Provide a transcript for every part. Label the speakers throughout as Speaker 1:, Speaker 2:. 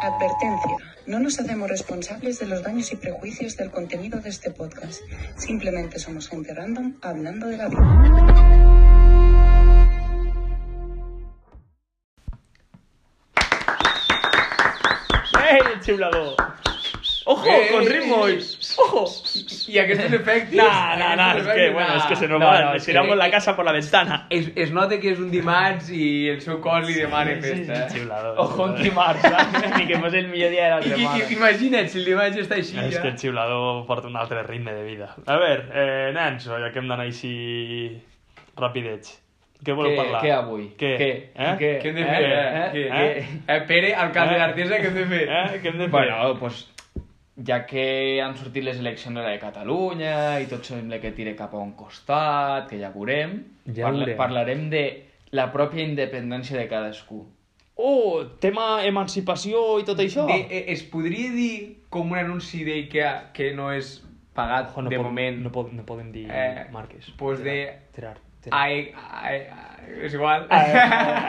Speaker 1: Advertencia. No nos hacemos responsables de los daños y prejuicios del contenido de este podcast. Simplemente somos gente random hablando de la vida.
Speaker 2: ¡Ey, el chiflado! ¡Ojo,
Speaker 3: ¡Ey!
Speaker 2: con ritmo hoy! ¡Ojo!
Speaker 3: I aquests efectes...
Speaker 2: Nah, nah, nah, és que, bueno, és que se nos
Speaker 3: No,
Speaker 2: va,
Speaker 3: no, és
Speaker 2: tiramos
Speaker 3: que-
Speaker 2: la casa por la ventana.
Speaker 3: Es, es nota que és un dimarts i el seu cos li demana
Speaker 2: sí,
Speaker 3: festa.
Speaker 4: eh?
Speaker 2: sí, xiulador,
Speaker 3: Ojo un
Speaker 2: xiulador.
Speaker 3: dimarts, saps?
Speaker 2: Ni que fos el millor dia de la
Speaker 3: I, i,
Speaker 2: setmana.
Speaker 3: i imagina't si el dimarts està així,
Speaker 2: És que el xiulador porta un altre ritme de vida. A veure, eh, nens, ja que hem d'anar així rapidets. Què voleu
Speaker 4: Què-
Speaker 2: parlar?
Speaker 4: què avui?
Speaker 2: Què?
Speaker 4: Què?
Speaker 2: Eh?
Speaker 4: Què?
Speaker 3: Què hem de
Speaker 4: Eh?
Speaker 3: fer? Eh?
Speaker 4: Eh?
Speaker 3: Què?
Speaker 2: Eh?
Speaker 3: Eh? Pere, alcalde
Speaker 2: Eh?
Speaker 3: d'Artesa, què hem de fer?
Speaker 2: Eh? Què hem de fer?
Speaker 4: Bueno, pues, ja que han sortit les eleccions de Catalunya i tot sembla que tire cap a un costat, que ja veurem,
Speaker 2: Ja veurem.
Speaker 4: parlarem de la pròpia independència de cadascú.
Speaker 2: Oh, tema emancipació i tot això.
Speaker 3: De, eh, es podria dir com un anunci d'IKEA que no és pagat
Speaker 2: Ojo, no
Speaker 3: de
Speaker 2: pod-
Speaker 3: moment
Speaker 2: No, pod no podem dir
Speaker 3: Eh,
Speaker 2: marques.
Speaker 3: pues
Speaker 2: Gerard,
Speaker 3: de-
Speaker 2: Gerard, Gerard.
Speaker 3: Ai, ai, ai, és igual.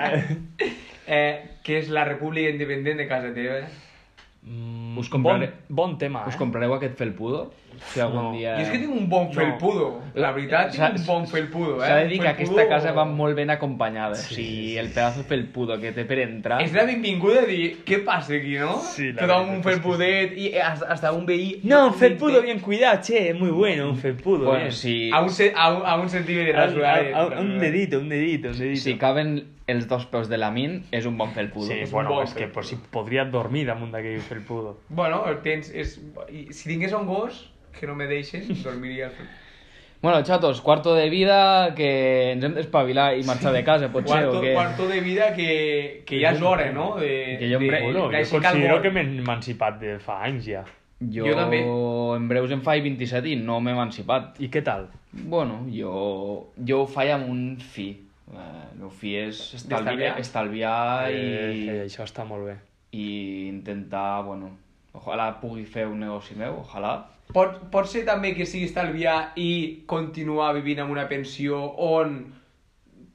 Speaker 3: eh, que és la república independent de casa teva.
Speaker 2: Mm,
Speaker 4: Us compraré-
Speaker 2: Bon, bon tema, eh?
Speaker 4: Us comprareu aquest felpudo? Si algun
Speaker 2: No.
Speaker 4: dia...
Speaker 3: I és que tinc un bon
Speaker 2: No.
Speaker 3: felpudo. La veritat,
Speaker 4: S'ha-
Speaker 3: tinc un bon felpudo, eh?
Speaker 4: S'ha de dir que
Speaker 3: Felpudo-
Speaker 4: aquesta casa va molt ben acompanyada.
Speaker 2: Sí,
Speaker 4: Sí, o sigui,
Speaker 2: sí, sí.
Speaker 4: el pedazo de felpudo que té per entrar...
Speaker 3: És la benvinguda a dir, què passa aquí, no?
Speaker 2: Sí, la
Speaker 3: Tothom
Speaker 2: veritat
Speaker 3: un
Speaker 2: és que
Speaker 3: felpudet i eh, hasta, hasta un veí...
Speaker 2: No, un felpudo bien cuidado, che, muy bueno, un felpudo. eh?
Speaker 4: Bueno,
Speaker 2: bien.
Speaker 4: si,
Speaker 3: A un, ce- a un, a un centímetre
Speaker 2: A-
Speaker 3: de
Speaker 2: a-
Speaker 3: rasurar.
Speaker 2: a- un dedito, un dedito, un dedito.
Speaker 4: si caben els dos peus de la min, és un bon felpudo.
Speaker 2: Sí,
Speaker 3: és un
Speaker 2: bueno,
Speaker 3: bon
Speaker 2: és que
Speaker 3: felpudo.
Speaker 2: pues, si podria dormir damunt d'aquell felpudo.
Speaker 3: Bueno, el tens... És... i Si tingués un gos, que no me deixen, dormiria... al felpudo.
Speaker 4: Bueno, chatos, cuarto de vida que ens hem d'espavilar i marxar de casa, potser,
Speaker 3: Cuarto,
Speaker 4: o què?
Speaker 3: cuarto de vida que, que ja és hora, no? De,
Speaker 4: Que jo em
Speaker 3: de,
Speaker 4: pre-
Speaker 2: Bueno, jo
Speaker 3: d'aixecar el
Speaker 2: considero
Speaker 3: vol.
Speaker 2: que m'he emancipat de fa anys ja.
Speaker 4: Jo,
Speaker 3: jo també.
Speaker 4: en breus em faig 27 i no m'he emancipat.
Speaker 2: I què tal?
Speaker 4: Bueno, jo, jo ho faig amb un fi. Eh, el meu fi és estalviar,
Speaker 3: D'estalviar.
Speaker 4: estalviar i,
Speaker 2: Eh, eh, això està molt bé.
Speaker 4: i intentar, bueno, ojalà pugui fer un negoci meu, ojalà.
Speaker 3: Pot, pot ser també que sigui estalviar i continuar vivint en una pensió on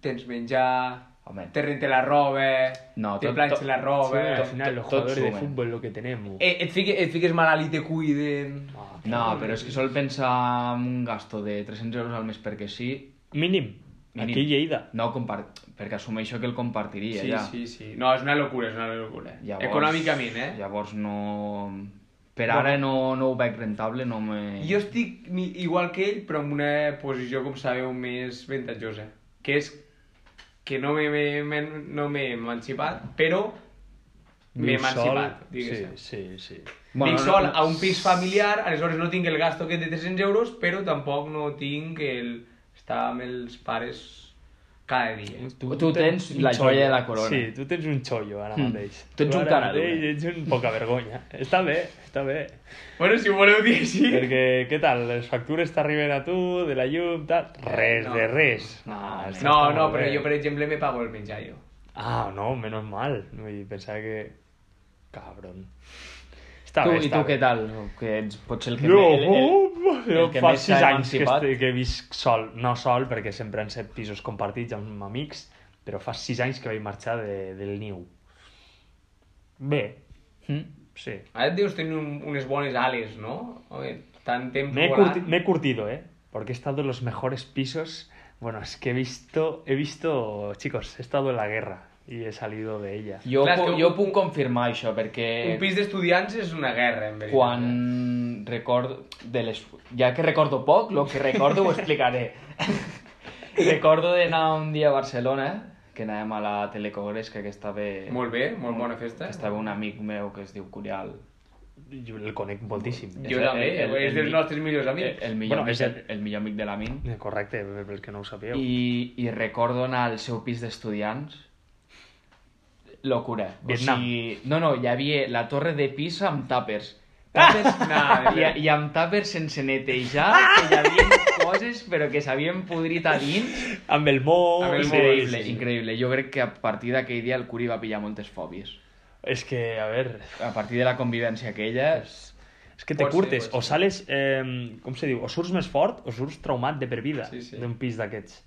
Speaker 3: tens menjar,
Speaker 4: Home.
Speaker 3: te rente la roba,
Speaker 4: No,
Speaker 3: te
Speaker 4: tot-
Speaker 3: planxen
Speaker 4: tot-
Speaker 3: la roba...
Speaker 2: al final, los
Speaker 4: tot- tot
Speaker 2: jugadores de
Speaker 4: sumen.
Speaker 2: fútbol lo que tenemos.
Speaker 3: Eh, et, fiques, et fiques malalt i te cuiden...
Speaker 2: Ah,
Speaker 4: No, però és que sol pensar en un gasto de 300 euros al mes perquè sí,
Speaker 2: Mínim.
Speaker 4: Mínim.
Speaker 2: Aquí Lleida.
Speaker 4: no compart... perquè assumeixo que el compartiria
Speaker 3: Sí,
Speaker 4: ja.
Speaker 3: sí, sí. No, és una locura, és una locura.
Speaker 4: Llavors,
Speaker 3: Econòmicament, eh?
Speaker 4: Llavors no... Per ara no, no ho veig rentable, no me...
Speaker 3: Jo estic ni, igual que ell, però en una posició, com sabeu, més avantatjosa. Que és que no m'he me, me, no m'he emancipat, però m'he
Speaker 2: Vius sol.
Speaker 3: emancipat, diguéssim.
Speaker 2: Sí, sí, sí.
Speaker 3: Bueno,
Speaker 4: Bueno,
Speaker 3: Vinc
Speaker 4: no-
Speaker 3: sol
Speaker 4: no-
Speaker 3: a un pis familiar, aleshores no tinc el gasto aquest de 300 euros, però tampoc no tinc el... estar amb els pares cada dia.
Speaker 4: Tu tens la
Speaker 2: xollo.
Speaker 4: joia de la corona. Hmm.
Speaker 2: Sí, tu tens un xollo ara mateix.
Speaker 4: Tu ets un
Speaker 2: ara
Speaker 4: caradura.
Speaker 2: mateix ets un poca vergonya. Està bé, està bé.
Speaker 3: Bueno, si ho voleu dir així...
Speaker 2: Perquè, què tal? Les factures t'arriben a tu, de la llum, tal... Res
Speaker 3: No.
Speaker 2: de res.
Speaker 4: No,
Speaker 2: Ah, això
Speaker 3: No,
Speaker 2: està
Speaker 3: no,
Speaker 2: molt
Speaker 3: però
Speaker 2: bé.
Speaker 3: jo, per exemple, me pago el menjar jo.
Speaker 2: Ah, no, menos mal. Vull dir, pensava que... Cabrón. Està
Speaker 4: Tu,
Speaker 2: bé,
Speaker 4: I
Speaker 2: està
Speaker 4: tu
Speaker 2: bé.
Speaker 4: què tal? Que ets potser el que...
Speaker 2: No,
Speaker 4: el,
Speaker 2: el,
Speaker 4: el que
Speaker 2: fa
Speaker 4: més
Speaker 2: sis
Speaker 4: s'ha
Speaker 2: anys que,
Speaker 4: emancipat.
Speaker 2: estic, que visc sol, no sol, perquè sempre han set pisos compartits amb amics, però fa sis anys que vaig marxar de, del niu. Bé,
Speaker 4: Mm?
Speaker 2: sí.
Speaker 3: Ara et deus tenir un, unes bones ales, no? Home, tant temps
Speaker 2: Me he,
Speaker 3: volant...
Speaker 2: curti- me he curtido, ¿eh? Porque he estado en los mejores pisos. Bueno, es que he visto, he visto, chicos, he estado en la guerra y he salido de ella.
Speaker 4: Jo,
Speaker 3: Clar, és
Speaker 4: pu
Speaker 3: que un-
Speaker 4: jo puc confirmar això, perquè
Speaker 3: Un pis d'estudiants és una guerra, en veritat.
Speaker 4: Eh, quan recordo... De les... Ja que recordo poc, el que recordo ho explicaré. recordo d'anar un dia a Barcelona, que anàvem a la telecogresca que estava...
Speaker 3: Eh, Molt bé, molt bona festa.
Speaker 4: Que estava un amic meu que es diu Curial.
Speaker 2: Yo el conec moltíssim.
Speaker 3: Jo
Speaker 4: És
Speaker 3: també, eh,
Speaker 4: el- el-
Speaker 3: és
Speaker 4: el
Speaker 3: dels
Speaker 4: mi-
Speaker 3: nostres millors
Speaker 4: El,
Speaker 3: amics.
Speaker 4: el,
Speaker 2: Bueno,
Speaker 4: millor, bueno,
Speaker 2: és
Speaker 4: amic,
Speaker 2: el-
Speaker 4: el, el millor amic de la min.
Speaker 2: Eh, Correcte, pel que no ho sabíeu.
Speaker 4: I, i recordo anar al seu pis d'estudiants locura.
Speaker 2: Vietnam.
Speaker 4: O sigui, no, no, hi havia la torre de Pisa amb tàpers. Tàpers,
Speaker 3: Ah!
Speaker 4: i, I amb tàpers sense netejar, que hi havia coses però que s'havien podrit a dins.
Speaker 2: Amb el món...
Speaker 3: Amb el món,
Speaker 4: Increïble, increïble. Jo crec que a partir d'aquell dia el Curi va pillar moltes fòbies.
Speaker 2: És que, a ver,
Speaker 4: A partir de la convivència aquella...
Speaker 2: és que te
Speaker 3: Pot ser,
Speaker 2: curtes,
Speaker 3: pot ser.
Speaker 2: o em, sales, eh, com se diu, o surts més fort o surts traumat de per vida
Speaker 3: Sí, sí.
Speaker 2: d'un pis d'aquests.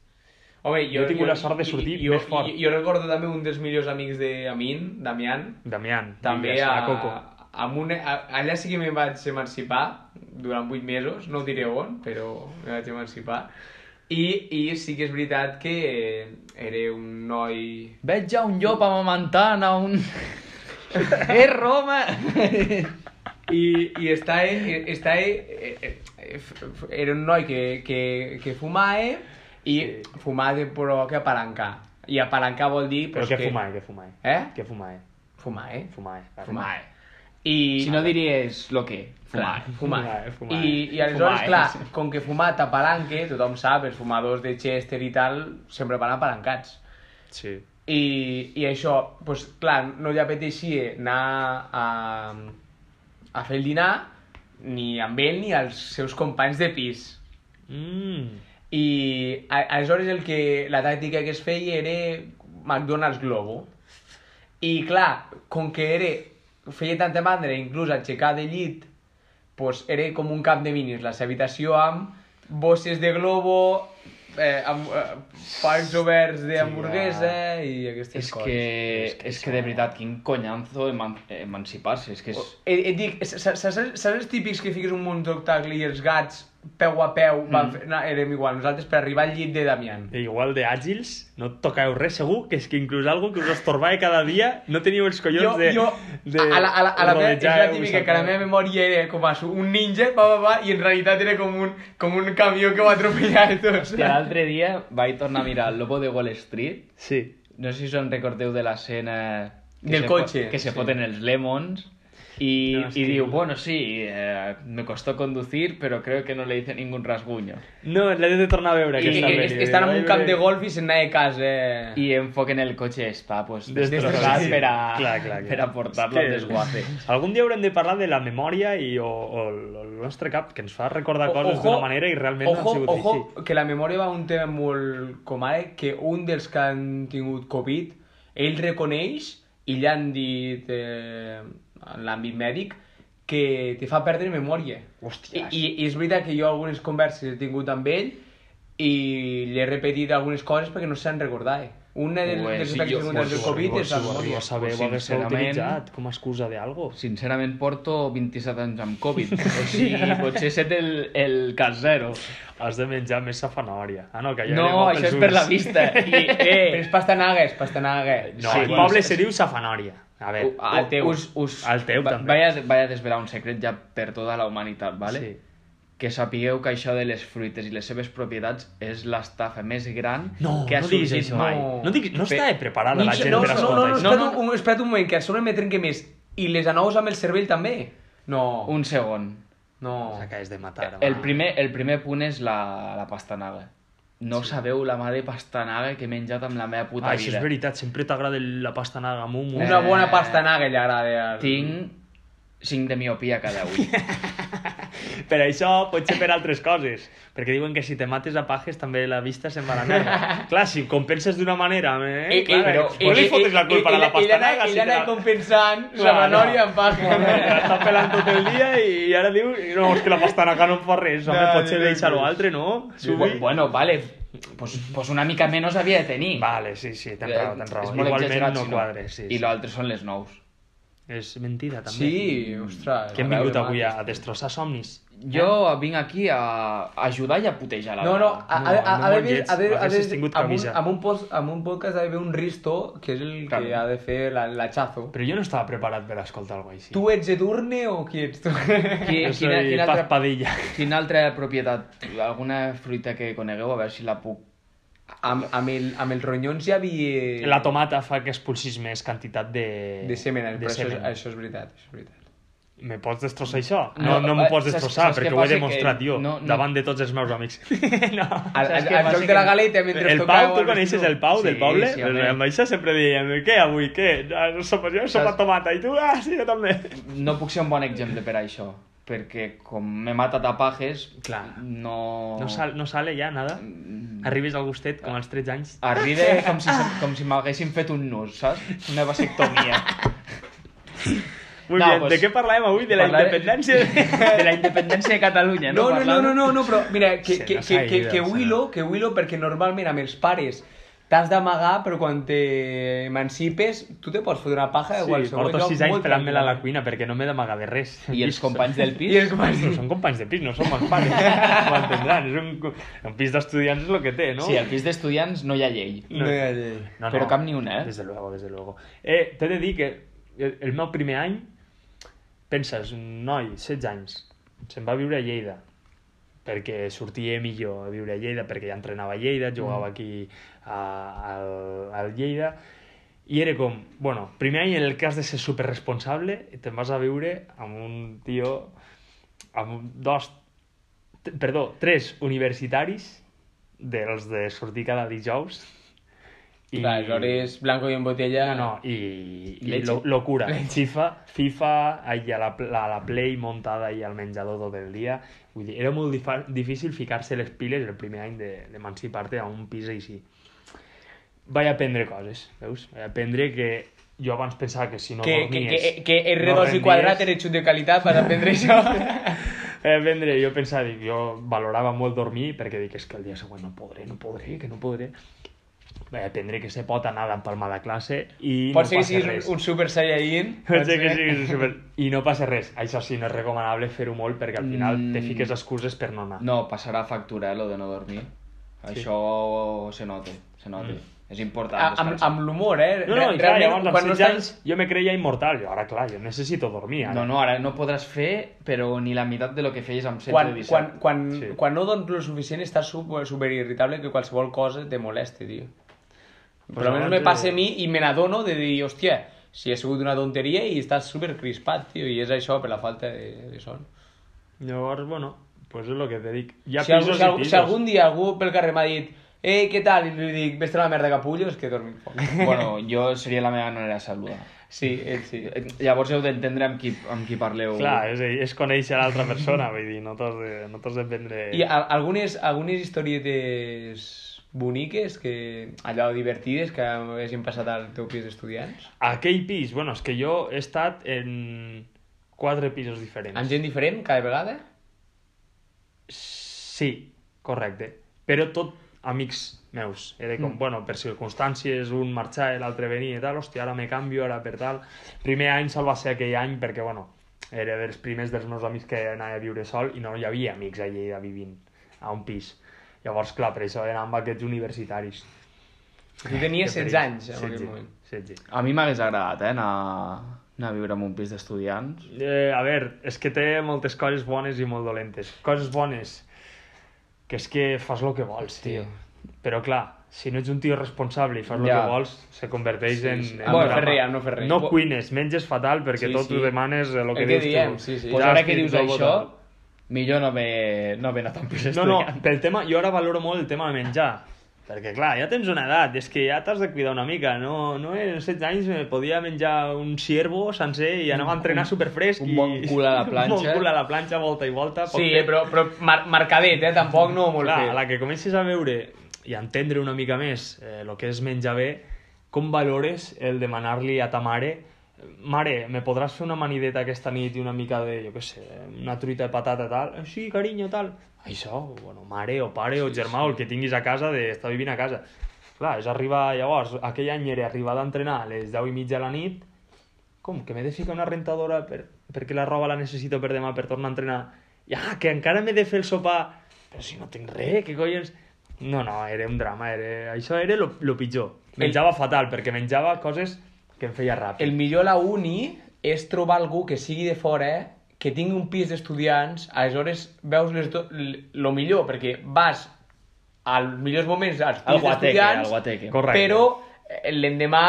Speaker 3: Home,
Speaker 2: Jo he tingut la sort de sortir
Speaker 3: jo,
Speaker 2: més fort.
Speaker 3: Jo, jo recordo també un dels millors amics d'Amin, Damián,
Speaker 2: Damián,
Speaker 3: també
Speaker 2: digues,
Speaker 3: a,
Speaker 2: a Coco.
Speaker 3: Amb una, a, allà sí que me'n vaig emancipar durant 8 mesos, no diré on, però me vaig emancipar. I, I sí que és veritat que eh, era un noi...
Speaker 4: Veig ja un llop amamantant a un... Eh, Roma!
Speaker 3: I, i estava, estava, eh, eh, f- f- era un noi que, que, que fumava i sí. fumava però que apalancar. I apalancar vol dir...
Speaker 2: Però
Speaker 3: pues,
Speaker 2: què fumae, què fumae?
Speaker 3: Eh?
Speaker 2: Què fumae?
Speaker 3: Fumae.
Speaker 2: Fumae. vale.
Speaker 3: Fumae. I...
Speaker 4: Si no diries lo que,
Speaker 3: Fumar,
Speaker 4: fumar.
Speaker 3: fumar.
Speaker 2: Fumar, fumar.
Speaker 3: I, I aleshores,
Speaker 4: Fumar,
Speaker 3: clar,
Speaker 4: sí.
Speaker 3: com que fumar t'apalanque, tothom sap, els fumadors de Chester i tal sempre van apalancats.
Speaker 2: Sí.
Speaker 3: I, i això, pues, clar, no li apeteixia anar a, a fer el dinar ni amb ell ni als seus companys de pis.
Speaker 2: Mm.
Speaker 3: I a, aleshores el que, la tàctica que es feia era McDonald's Globo. I clar, com que era, feia tanta mandra, inclús aixecar de llit, pues era com un camp de minis, la seva habitació amb bosses de globo, eh, amb eh, parts oberts d'hamburguesa i aquestes
Speaker 4: És
Speaker 3: coses.
Speaker 4: que, és que de veritat, quin conyanzo eman emancipar-se, és que és...
Speaker 3: Et, et dic, s- s- saps saps els típics que fiques un munt d'octacle i els gats peu a peu van fer... No, érem igual, nosaltres per arribar al llit de Damián.
Speaker 2: Igual de àgils, no tocàveu res segur, que és que inclús algo que us estorbava cada dia, no teníeu els collons
Speaker 3: jo,
Speaker 2: de...
Speaker 3: jo,
Speaker 2: de
Speaker 3: a, a, la, a, la, a la meva, és la
Speaker 2: rodejar-vos
Speaker 3: típica
Speaker 2: al
Speaker 3: que a la
Speaker 2: carrer.
Speaker 3: meva memòria era com a su- un ninja, va, va, va, i en realitat era com un, com un camió que va atropellar a tots.
Speaker 4: I l'altre dia vaig tornar a mirar el Lobo de Wall Street,
Speaker 2: Sí.
Speaker 4: no sé si us en recordeu de l'escena... que
Speaker 3: Del
Speaker 4: se
Speaker 3: cotxe,
Speaker 4: fo- Que se
Speaker 3: sí.
Speaker 4: foten els lemons i,
Speaker 2: No, és
Speaker 4: y
Speaker 2: que-
Speaker 4: diu, bueno, sí, eh, me costó conducir, pero creo que no le hice ningún rasguño.
Speaker 2: No, l'he de tornar a veure,
Speaker 3: I,
Speaker 2: aquesta
Speaker 3: i,
Speaker 2: pel·li.
Speaker 3: est- estan en
Speaker 2: Vaig
Speaker 3: un camp de
Speaker 2: veure-
Speaker 3: golf i se'n anava a casa.
Speaker 2: Ah.
Speaker 3: eh? I...
Speaker 4: Y enfoquen el coche, está pues
Speaker 2: Destrozat.
Speaker 4: destrozado
Speaker 2: Sí,
Speaker 4: para,
Speaker 2: clar, clar, clar.
Speaker 4: para portarlo
Speaker 2: És
Speaker 4: al
Speaker 2: que-
Speaker 4: desguace.
Speaker 2: Algun dia haurem de parlar de la memòria i o, o el el nostre cap, que ens fa recordar coses d'una manera i realment no
Speaker 3: ojo,
Speaker 2: han sigut
Speaker 3: ojo,
Speaker 2: així.
Speaker 3: que la memòria va a un tema molt com ara, que un dels que han tingut Covid, ell reconeix i li han dit eh, en l'àmbit mèdic que te fa perdre memòria. I,
Speaker 2: Hòstia,
Speaker 3: i, I és veritat que jo algunes converses he tingut amb ell i li he repetit algunes coses perquè no se'n recordava. Una de,
Speaker 4: Pues,
Speaker 3: dels
Speaker 4: sí,
Speaker 3: atacs
Speaker 4: jo-
Speaker 3: que tinc
Speaker 4: pues,
Speaker 3: del
Speaker 4: jo-
Speaker 3: Covid
Speaker 4: jo-
Speaker 3: és la
Speaker 4: jo-
Speaker 2: no
Speaker 3: memòria.
Speaker 4: jo-
Speaker 2: saber ho hagués
Speaker 4: Sincerament-
Speaker 2: utilitzat com a excusa d'algo.
Speaker 4: Sincerament porto 27 anys amb Covid, o sigui, potser he set el, el cas zero.
Speaker 2: Has de menjar més safanòria. Ah, no, que ja
Speaker 4: No,
Speaker 2: anem amb
Speaker 4: això
Speaker 2: els
Speaker 4: és per la
Speaker 2: ulls.
Speaker 4: vista. I,
Speaker 3: Però
Speaker 4: eh,
Speaker 3: és pastanagues, pastanagues.
Speaker 2: No,
Speaker 4: Sí,
Speaker 2: el
Speaker 4: bueno,
Speaker 2: poble
Speaker 4: és-
Speaker 2: se diu safanòria. A veure,
Speaker 4: u- Uh, al teu, us, us,
Speaker 2: Al Eh, teu,
Speaker 4: va-
Speaker 2: també.
Speaker 4: Vaya, vaya a desvelar un secret ja per tota la humanitat, vale?
Speaker 2: sí.
Speaker 4: Que sapigueu que això de les fruites i les seves propietats és l'estafa més gran
Speaker 2: No,
Speaker 4: que ha
Speaker 2: no diguis
Speaker 4: sorgit
Speaker 2: això.
Speaker 4: mai.
Speaker 2: No, diguis, no
Speaker 4: Pe-
Speaker 2: està preparada la
Speaker 4: Mitja-
Speaker 2: gent
Speaker 3: No,
Speaker 2: per
Speaker 3: no, no,
Speaker 2: escoltar
Speaker 3: no,
Speaker 2: això.
Speaker 3: espera't,
Speaker 4: no, no.
Speaker 3: Un, espera't un moment, que a sobre me trenque més. I les anous amb el cervell també? No,
Speaker 4: Un segon.
Speaker 3: no.
Speaker 2: S'acabes de matar.
Speaker 4: El
Speaker 2: va.
Speaker 4: primer, el primer punt és la, la pastanaga. No sabeu la mà de pastanaga que he menjat amb tota la meva puta
Speaker 2: Ah, això
Speaker 4: vida.
Speaker 2: és veritat, sempre t'agrada el- la pastanaga amb un...
Speaker 3: Una
Speaker 4: Eh.
Speaker 3: bona pastanaga li agrada. al-
Speaker 4: Tinc 5 de miopia cada ull.
Speaker 2: Per això pot ser per altres coses. Perquè diuen que si te mates a pajes també la vista se'n va a la merda. clar, si ho compenses d'una manera... Eh,
Speaker 4: Eh, eh,
Speaker 2: clar,
Speaker 4: però-
Speaker 2: eh, no li
Speaker 4: eh,
Speaker 2: fotes la culpa a la pastanaga.
Speaker 3: Ell
Speaker 2: si te
Speaker 3: anava
Speaker 2: la-
Speaker 3: compensant la
Speaker 2: Clar,
Speaker 3: menòria
Speaker 2: no.
Speaker 3: amb paja.
Speaker 2: Està pelant tot el dia i, i ara diu no, és que la pastanaga no em fa res, home,
Speaker 3: No,
Speaker 2: potser
Speaker 3: no, no,
Speaker 2: deixar-ho
Speaker 3: no.
Speaker 2: altre, no?
Speaker 4: Bu-
Speaker 2: Subi.
Speaker 4: bueno, vale, pues, pues una mica menys havia de tenir.
Speaker 2: Vale, sí, sí, tens raó, tens raó.
Speaker 4: Eh, És molt
Speaker 2: Igualment
Speaker 4: exagerat,
Speaker 2: no
Speaker 4: si
Speaker 2: quadres, sí.
Speaker 4: I
Speaker 2: sí.
Speaker 4: l'altre són les nous.
Speaker 2: És mentida, també.
Speaker 3: Sí, ostres.
Speaker 2: Que hem
Speaker 3: a veure,
Speaker 2: vingut avui
Speaker 3: maco.
Speaker 2: a, a destrossar somnis.
Speaker 4: Jo vinc aquí a, a ajudar i a putejar la
Speaker 3: No, no,
Speaker 4: dona.
Speaker 3: a,
Speaker 2: No,
Speaker 3: a, a,
Speaker 2: no
Speaker 3: a,
Speaker 2: molt
Speaker 3: veure,
Speaker 2: llets,
Speaker 3: a veure, a
Speaker 2: haguessis
Speaker 3: veure,
Speaker 2: tingut
Speaker 3: amb un,
Speaker 2: camisa.
Speaker 3: amb, un post, amb un podcast ha d'haver un risto, que és el
Speaker 4: Clar.
Speaker 3: que ha de fer la- l'atxazo.
Speaker 2: Però jo no estava preparat per escoltar alguna així.
Speaker 3: Tu ets Edurne o qui ets tu?
Speaker 4: Qui,
Speaker 2: Jo
Speaker 4: eh, quina,
Speaker 2: soy
Speaker 4: quina,
Speaker 2: Paz
Speaker 4: altra,
Speaker 2: Padilla.
Speaker 4: quina altra propietat, alguna fruita que conegueu, a veure si la puc...
Speaker 3: amb, amb, el, amb els ronyons hi havia...
Speaker 2: La tomata fa que expulsis més quantitat de...
Speaker 3: De semen,
Speaker 2: de
Speaker 3: però això, és,
Speaker 2: semen.
Speaker 3: això és veritat, això és veritat.
Speaker 2: Me pots destrossar això? No, no, m'ho
Speaker 4: eh,
Speaker 2: pots
Speaker 4: saps-
Speaker 2: destrossar,
Speaker 4: saps què
Speaker 2: perquè ho he
Speaker 4: passa?
Speaker 2: demostrat
Speaker 4: Que
Speaker 2: jo,
Speaker 4: no- no-
Speaker 2: davant de tots els meus amics. no.
Speaker 3: Al,
Speaker 4: Saps
Speaker 3: al, al
Speaker 4: què passa?
Speaker 3: joc
Speaker 4: Que
Speaker 3: de la galeta, mentre
Speaker 2: El
Speaker 3: tocava
Speaker 2: Pau, tu
Speaker 3: el
Speaker 2: coneixes
Speaker 3: vestido.
Speaker 2: el Pau del
Speaker 4: Sí,
Speaker 2: poble? Doncs
Speaker 4: sí, home.
Speaker 2: amb això sempre dèiem, què avui, què? Ah, no Som, jo som
Speaker 4: Saps-
Speaker 2: a tomata, i tu, ah, sí, jo també.
Speaker 4: No puc ser un bon exemple per a això, perquè com m'he matat a pajes,
Speaker 2: Clar.
Speaker 4: no...
Speaker 2: No, Mm. sal, no sale ja, nada. Arribes al gustet, com als 13 anys.
Speaker 4: Arriba com si, com si m'haguessin fet un nus, saps? Una vasectomia.
Speaker 2: Muy
Speaker 4: No,
Speaker 2: bien,
Speaker 4: pues,
Speaker 2: de què parlàvem avui? De la
Speaker 4: parlaré-
Speaker 2: independència de...
Speaker 4: de la independència de Catalunya,
Speaker 3: No,
Speaker 4: no?
Speaker 3: no, no,
Speaker 4: Parlàvem.
Speaker 3: no, no, no, però mira, que,
Speaker 2: Se
Speaker 3: que,
Speaker 2: n'ha
Speaker 3: que, que,
Speaker 2: saïda,
Speaker 3: que
Speaker 2: se
Speaker 3: Willow, que Willow, perquè normalment amb els pares t'has d'amagar, però quan te emancipes, tu te pots fotre una paja de
Speaker 2: Sí,
Speaker 3: qualsevol
Speaker 2: porto 6 anys
Speaker 3: molt
Speaker 2: pelant-me-la a la
Speaker 3: tranquil.
Speaker 2: cuina perquè no m'he d'amagar de res.
Speaker 4: I els companys del pis?
Speaker 3: I és com
Speaker 2: Però són companys de pis, no són els pares. Ho entendran. És un, co- un pis d'estudiants és el que té, no?
Speaker 4: Sí, al pis d'estudiants no hi ha llei.
Speaker 3: No hi ha llei.
Speaker 2: No,
Speaker 4: Però
Speaker 2: no.
Speaker 4: cap ni una, eh?
Speaker 2: Desde luego, desde luego. Eh, T'he de dir que el, el meu primer any, penses, un noi, 16 anys, se'n va a viure a Lleida, perquè sortia millor a viure a Lleida, perquè ja entrenava a Lleida,
Speaker 4: Mm.
Speaker 2: jugava aquí a, al, al Lleida, i era com, bueno, primer any en el cas de ser superresponsable, te'n vas a viure amb un tio, amb un- dos, t- perdó, tres universitaris, dels de sortir cada dijous,
Speaker 3: I... Aleshores, blanco i en botella...
Speaker 2: no, no, i, i
Speaker 3: Leche.
Speaker 2: lo, locura.
Speaker 3: Leche.
Speaker 2: FIFA, FIFA ahí a la, pl- a la Play muntada i al menjador tot el dia. Vull dir, era molt difa- difícil ficar-se les piles el primer any de- d'emancipar-te a un pis així. Vaig aprendre coses, veus? Vaig aprendre que jo abans pensava que si no
Speaker 3: que, que,
Speaker 2: dormies...
Speaker 3: que, que R2
Speaker 2: no
Speaker 3: i quadrat
Speaker 2: rendies.
Speaker 3: era xut de qualitat per aprendre això.
Speaker 2: Eh, vendre, jo pensava, dic, jo valorava molt dormir perquè dic, és que el dia següent no podré, no podré, que no podré. Vaig aprendre que se pot anar d'empalmada a classe i
Speaker 3: Pot ser
Speaker 2: no
Speaker 3: que
Speaker 2: passa
Speaker 3: siguis
Speaker 2: res.
Speaker 3: un, eh? un super saiyan.
Speaker 2: Pot ser que siguis un super... I no passa res. Això sí, no és recomanable fer-ho molt perquè al final
Speaker 4: Mm.
Speaker 2: te fiques excuses per no anar.
Speaker 4: No, passarà factura, eh, lo de no dormir. Això se nota, se nota. És important.
Speaker 3: Mm. A- Amb,
Speaker 4: descansar.
Speaker 3: amb l'humor, eh?
Speaker 2: no, no i clar,
Speaker 3: Realment,
Speaker 2: llavors als
Speaker 3: quan
Speaker 2: 16
Speaker 3: no
Speaker 2: anys jo me creia immortal. Jo ara, clar, jo necessito dormir. Ara.
Speaker 4: No, no, ara no podràs fer, però ni la meitat de lo que feies amb 16
Speaker 3: quan,
Speaker 4: o 17.
Speaker 3: quan, quan,
Speaker 2: Sí.
Speaker 3: quan no dones lo suficient estàs super, super irritable que qualsevol cosa te molesti, tio. Pues Però almenys
Speaker 2: abans
Speaker 3: me
Speaker 2: de-
Speaker 3: passa a mi i me n'adono de dir, hòstia, si ha sigut una tonteria i estàs super crispat, tio, i és això per la falta de, de son.
Speaker 2: Llavors, bueno, pues és el que te dic. Hi ha
Speaker 3: si, algú,
Speaker 2: pisos
Speaker 3: si,
Speaker 2: i
Speaker 3: algú,
Speaker 2: pisos.
Speaker 3: si algun dia algú pel carrer m'ha dit «Eh, què tal?» i li dic «Ves-te a la merda, capullo», és que he dormit poc.
Speaker 4: Bueno, jo seria la meva manera de saludar.
Speaker 3: Sí, ell sí.
Speaker 4: Eh, Llavors heu d'entendre amb qui, amb qui parleu.
Speaker 2: Clar, és, a dir, és conèixer l'altra persona, vull dir, no t'has de, no t'has de prendre...
Speaker 3: I a, algunes, algunes historietes boniques, que, allò divertides, que haguessin passat al teu pis d'estudiants?
Speaker 2: Aquell pis, bueno, és que jo he estat en quatre pisos diferents.
Speaker 3: Amb gent diferent cada vegada?
Speaker 2: Sí, correcte. Però tot amics meus. Era com, mm. bueno, per circumstàncies, un marxar, l'altre venia i tal, hòstia, ara me canvio, ara per tal. Primer any se'l va ser aquell any perquè, bueno, era dels primers dels meus amics que anava a viure sol i no hi havia amics a Lleida vivint a un pis. Llavors, clar, per això anàvem amb aquests universitaris.
Speaker 3: Tu tenies 16 anys en aquell moment.
Speaker 2: 16.
Speaker 4: A mi m'hagués agradat, eh, anar, anar a viure en un pis d'estudiants.
Speaker 2: Eh, a veure, és que té moltes coses bones i molt dolentes. Coses bones, que és que fas el que vols, tio. Però clar, si no ets un tio responsable i fas el
Speaker 4: Ja.
Speaker 2: que vols, se converteix sí, en...
Speaker 3: sí.
Speaker 2: en
Speaker 3: Ah, no
Speaker 2: drama.
Speaker 3: fer res, ah, no fer res.
Speaker 2: No
Speaker 3: Bo-
Speaker 2: cuines, menges fatal perquè
Speaker 3: Sí,
Speaker 2: sí, tot
Speaker 3: sí.
Speaker 2: sí. ho demanes el que
Speaker 3: El que
Speaker 2: dius
Speaker 3: Eh, diem,
Speaker 2: tu.
Speaker 3: sí, sí. Doncs
Speaker 4: Pues
Speaker 2: Ja
Speaker 4: ara
Speaker 2: has
Speaker 4: que dius
Speaker 2: tingut
Speaker 4: això,
Speaker 2: votat.
Speaker 4: millor no haver, no haver anat a un pis
Speaker 2: No, no,
Speaker 4: d'estudiants.
Speaker 2: pel tema, jo ara valoro molt el tema de menjar. Perquè, clar, ja tens una edat, és que ja t'has de cuidar una mica. No, no en 16 anys me podia menjar un ciervo sencer i anava a entrenar superfresc.
Speaker 4: un
Speaker 2: i-
Speaker 4: bon cul a la planxa.
Speaker 2: Un bon cul a la planxa, volta i volta. poc
Speaker 3: Sí,
Speaker 2: fet.
Speaker 3: eh, però, però mar marcadet, eh? Tampoc no molt
Speaker 2: Clar, a
Speaker 3: fet.
Speaker 2: la que comencis a veure i a entendre una mica més el que és menjar bé, com valores el demanar-li a ta mare mare, me podràs fer una manideta aquesta nit i una mica de, jo què sé, una truita de patata tal? "Eh, Sí, carinyo, tal. Això, bueno, mare o pare o germà o el que tinguis a casa d'estar vivint a casa. Clar, és arribar, llavors, aquell any era arribar d'entrenar a les 10 i mitja de la nit, com, que m'he de ficar una rentadora per, perquè la roba la necessito per demà per tornar a entrenar? I, ah, que encara m'he de fer el sopar. Però si no tinc res, que coi és... No, no, era un drama, era... això era lo, lo pitjor. Menjava el... fatal, perquè menjava coses que em feia ràpid.
Speaker 3: El millor a la uni és trobar algú que sigui de fora, eh? que tingui un pis d'estudiants, aleshores veus les do... l- lo millor, perquè vas als millors moments als
Speaker 4: Al
Speaker 3: pis
Speaker 4: guateque, al
Speaker 3: d'estudiants,
Speaker 4: guateque.
Speaker 2: Correcte.
Speaker 3: però eh, l'endemà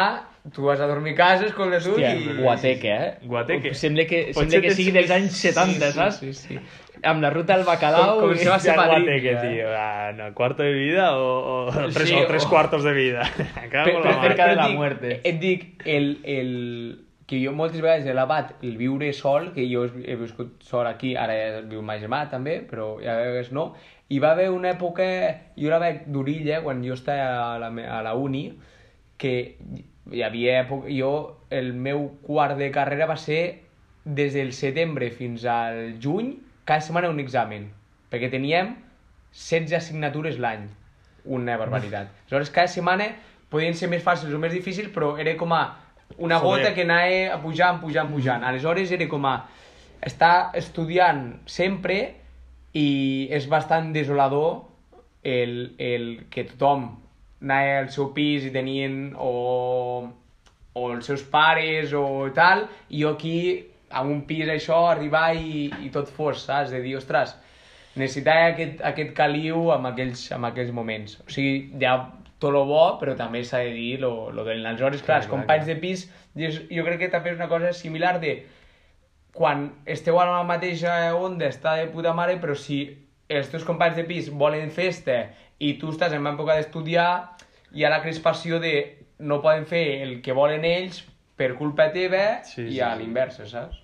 Speaker 3: tu vas a dormir a casa, escolta tu
Speaker 4: Hòstia,
Speaker 3: i...
Speaker 4: guateque, eh?
Speaker 2: Guateque.
Speaker 4: Sembla que,
Speaker 2: Potser
Speaker 4: sembla que
Speaker 2: tens-
Speaker 4: sigui dels anys 70,
Speaker 3: Sí, sí,
Speaker 4: saps?
Speaker 3: sí, sí.
Speaker 4: Amb la ruta al bacalao...
Speaker 3: Com- com
Speaker 4: i-
Speaker 3: se va
Speaker 2: Hòstia,
Speaker 3: ser padrí,
Speaker 2: guate, que,
Speaker 3: eh?
Speaker 2: tio, ah, no, cuarto de vida o, o, tres,
Speaker 3: Sí,
Speaker 2: o tres
Speaker 3: o-
Speaker 2: cuartos de vida. Cago en la
Speaker 4: Però
Speaker 2: mare.
Speaker 4: cerca de la
Speaker 3: et dic-
Speaker 4: muerte.
Speaker 3: Et dic, el, el, que jo moltes vegades he lavat el viure sol, que jo he viscut sol aquí, ara ja viu ma germà també, però ja veus no, i va haver una època, jo la veig d'orilla, quan jo estava a la, me- a la uni, que hi havia època, jo, el meu quart de carrera va ser des del setembre fins al juny, cada setmana un examen, perquè teníem 16 assignatures l'any, una barbaritat. Aleshores, cada setmana podien ser més fàcils o més difícils, però era com a una
Speaker 2: Joder.
Speaker 3: gota que anava pujant, pujant, pujant. Aleshores, era com a estar estudiant sempre i és bastant desolador el, el que tothom anava al seu pis i tenien o, o els seus pares o tal, i jo aquí, amb un pis això, arribar i, i tot fos, saps? De dir, ostres, necessitava aquest, aquest caliu en aquells, en aquells moments. O sigui, ja tot lo bo, però també s'ha de dir lo, lo dolent. Aleshores, clar, els
Speaker 2: clar,
Speaker 3: companys de pis, jo, jo crec que també és una cosa similar de quan esteu a la mateixa onda està de puta mare, però si els teus companys de pis volen festa i tu estàs en època d'estudiar, hi ha la crispació de no poden fer el que volen ells per culpa teva
Speaker 2: Sí,
Speaker 3: sí, i
Speaker 2: sí,
Speaker 3: a
Speaker 2: sí.
Speaker 3: l'inversa, saps?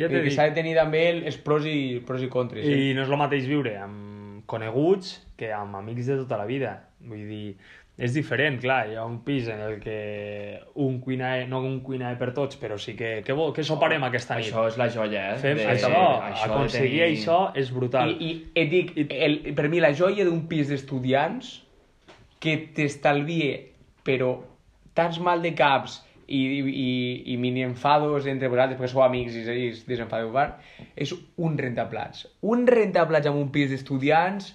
Speaker 2: Ja
Speaker 3: I
Speaker 2: t'he
Speaker 3: que
Speaker 2: dit.
Speaker 3: s'ha de tenir també el- els pros i, pros i contres. eh?
Speaker 2: I no és el mateix viure amb coneguts que amb amics de tota la vida. Vull dir, és diferent, clar, hi ha un pis en el que un cuina, no un cuina per tots, però sí que, que, bo, que soparem aquesta nit.
Speaker 4: Això és la jolla, eh?
Speaker 2: Fem
Speaker 4: de-
Speaker 2: això,
Speaker 4: de
Speaker 2: aconseguir
Speaker 4: tenir-
Speaker 2: això és brutal.
Speaker 3: I, i et dic, el, per mi la joia d'un pis d'estudiants que t'estalvie, però tants mal de caps i, i, i mini enfados entre vosaltres, perquè sou amics i, i us desenfadeu part, és un rentaplats. Un rentaplats amb un pis d'estudiants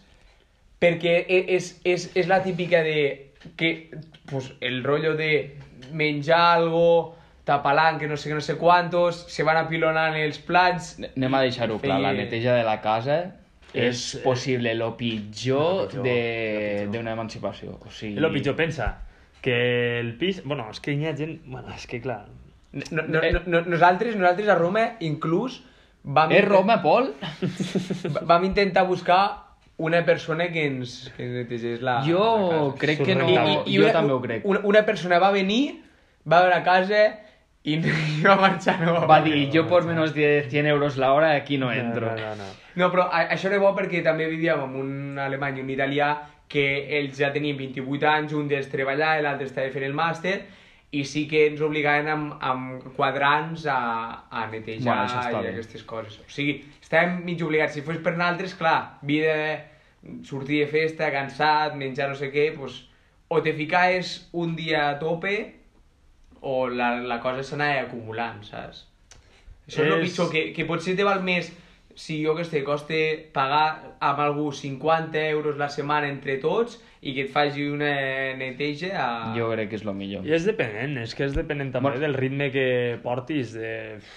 Speaker 3: perquè e- és, és, és la típica de que pues, el rollo de menjar algo, tapalant, que no sé que no sé quantos, se van apilonant els plats...
Speaker 4: Anem a deixar-ho clar, la
Speaker 3: Feia-
Speaker 4: neteja de la casa és,
Speaker 2: És-
Speaker 4: possible lo pitjor,
Speaker 2: Lo pitjor, lo
Speaker 4: de-
Speaker 2: pitjor.
Speaker 4: d'una emancipació. O sigui...
Speaker 2: I... Lo pitjor pensa que el pis... Bueno, és que hi ha gent... Bueno, és que clar...
Speaker 3: No, no, no, no, nosaltres, nosaltres a Roma, inclús, vam,
Speaker 4: És Roma, Pol?
Speaker 3: va- vam intentar buscar una persona que ens, que ens netegés la, Ah, la
Speaker 4: jo
Speaker 3: casa.
Speaker 4: crec que no...
Speaker 2: I-
Speaker 4: I,
Speaker 2: i-
Speaker 4: jo també ho crec.
Speaker 3: Una, una persona va venir, va veure casa i, i va marxar. No,
Speaker 4: Va dir, jo por menos de 100 euros la hora aquí no entro.
Speaker 2: No, no, no.
Speaker 3: No, però a, això era bo perquè també vivíem amb un alemany i un italià que ells ja tenien 28 anys, un d'ells treballava, l'altre estava fent el màster, i sí que ens obligaven amb, amb quadrants a, a netejar
Speaker 4: Bueno, això està
Speaker 3: i
Speaker 4: bé.
Speaker 3: aquestes coses. O sigui, estàvem mig obligats. Si fos per naltres, clar, vida, sortir de festa, cansat, menjar no sé què, doncs, o te ficaves un dia a tope o la, la cosa s'anava acumulant, saps? Això és el
Speaker 2: És-
Speaker 3: pitjor, que, que potser te val més si jo que sé, coste pagar amb algú 50 euros la setmana entre tots i que et faci una neteja a...
Speaker 4: Jo crec que és lo millor.
Speaker 2: I és depenent, és que és depenent també
Speaker 4: Bueno.
Speaker 2: del ritme que portis, de...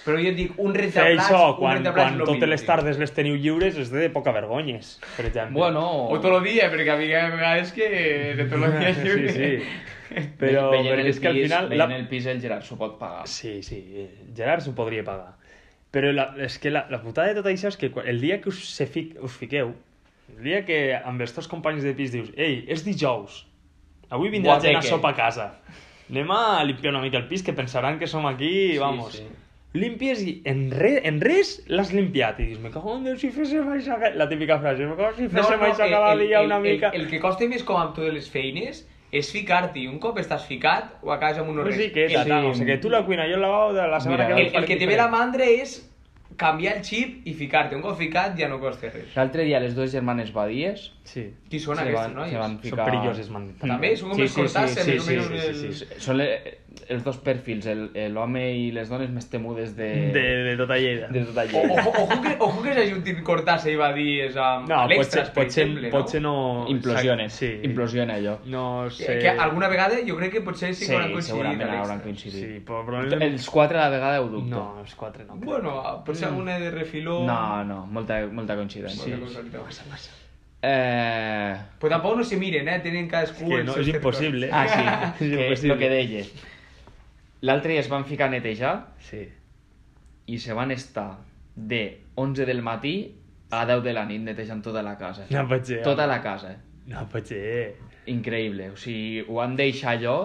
Speaker 3: Però jo et dic, un
Speaker 2: Fer
Speaker 3: rentaplats...
Speaker 2: això,
Speaker 3: un
Speaker 2: quan,
Speaker 3: rentaplats
Speaker 2: quan
Speaker 3: lo
Speaker 2: totes
Speaker 3: millor,
Speaker 2: les
Speaker 3: tio.
Speaker 2: tardes les teniu lliures és de poca vergonyes, per exemple.
Speaker 4: Bueno...
Speaker 3: O tot el dia, perquè a mi a vegades que de tot el dia
Speaker 2: Sí,
Speaker 3: lliure.
Speaker 2: sí. Però,
Speaker 4: veient
Speaker 2: però
Speaker 4: el
Speaker 2: és que al
Speaker 4: pis-
Speaker 2: final...
Speaker 4: Veient el pis, el Gerard s'ho pot pagar.
Speaker 2: Sí, sí, Gerard s'ho podria pagar. Però la, és que la, la putada de tot això és que quan- el dia que us, se fic, us fiqueu, el dia que amb els teus companys de pis dius «Ei, és dijous, avui vindrà
Speaker 3: Guateque."
Speaker 2: gent a sopa a casa, anem a limpiar una mica el pis que pensaran que som aquí,
Speaker 3: Sí,
Speaker 2: vamos».
Speaker 3: sí.
Speaker 2: Limpies i en, re, en res l'has limpiat i dius «Me cago en Déu si féssim això...» que-" La típica frase «Me cago si féssim no, no, això cada dia una
Speaker 3: el,
Speaker 2: mica...»
Speaker 3: El, el, que costa més com amb totes les feines és ficar-t'hi. Un cop estàs ficat, ho acabes amb un
Speaker 2: Una
Speaker 3: res.
Speaker 2: riqueta,
Speaker 3: El-
Speaker 2: tal, no sé què. Tu la cuina, jo el lavabo de la setmana que
Speaker 4: Mira,
Speaker 2: ve.
Speaker 3: El, el que te ve la mandra és canviar el xip i ficar-te. Un cop ficat ja no costa res.
Speaker 4: L'altre dia les dues germanes Badies
Speaker 2: Sí.
Speaker 3: Qui són
Speaker 4: se
Speaker 3: aquests
Speaker 4: van,
Speaker 3: nois?
Speaker 4: se van
Speaker 2: Són
Speaker 4: ficar...
Speaker 2: perilloses, man.
Speaker 3: També són com
Speaker 4: Sí,
Speaker 3: els
Speaker 4: sí, sí,
Speaker 3: cortàceres,
Speaker 4: sí,
Speaker 3: més o
Speaker 4: sí,
Speaker 3: menys
Speaker 2: sí, sí,
Speaker 3: el-
Speaker 2: sí.
Speaker 4: Són le- els dos perfils, el- el- l'home i les dones més temudes de...
Speaker 2: De, de tota Lleida.
Speaker 4: de tota
Speaker 3: O,
Speaker 4: Lleida.
Speaker 3: o, ojo, que, ojo que s'ajuntin Cortàcer i Badies amb
Speaker 2: No,
Speaker 4: pues
Speaker 2: potser,
Speaker 3: Alextras, um, per
Speaker 2: potser,
Speaker 3: exemple,
Speaker 2: potser no...
Speaker 4: Implosiones,
Speaker 2: Sí.
Speaker 4: implosiona allò.
Speaker 2: No
Speaker 3: Que,
Speaker 2: sé...
Speaker 3: Eh, que alguna vegada jo crec que potser sí que hauran coincidit.
Speaker 4: segurament
Speaker 3: Alextras.
Speaker 4: hauran coincidit.
Speaker 2: Sí, però probablement...
Speaker 4: Els quatre a la vegada ho dubto.
Speaker 2: No, els quatre no. crec. Mm.
Speaker 3: Bueno, ah, potser alguna de refiló...
Speaker 4: No, no, molta, molta coincidència.
Speaker 3: Sí.
Speaker 4: Eh...
Speaker 3: Però tampoc no se miren, eh? Tenen cadascú...
Speaker 2: que
Speaker 3: els
Speaker 2: no,
Speaker 3: seus
Speaker 2: és
Speaker 3: territoris.
Speaker 2: impossible.
Speaker 4: Ah, sí,
Speaker 2: És
Speaker 4: que és
Speaker 2: impossible.
Speaker 4: el que deies. L'altre dia es van ficar a netejar
Speaker 2: Sí.
Speaker 4: i se van estar de 11 del matí a 10 de la nit netejant tota la casa.
Speaker 2: No pot ser.
Speaker 4: Tota la casa.
Speaker 2: No pues, eh. pot ser.
Speaker 4: Increïble. O sigui, ho han deixat allò...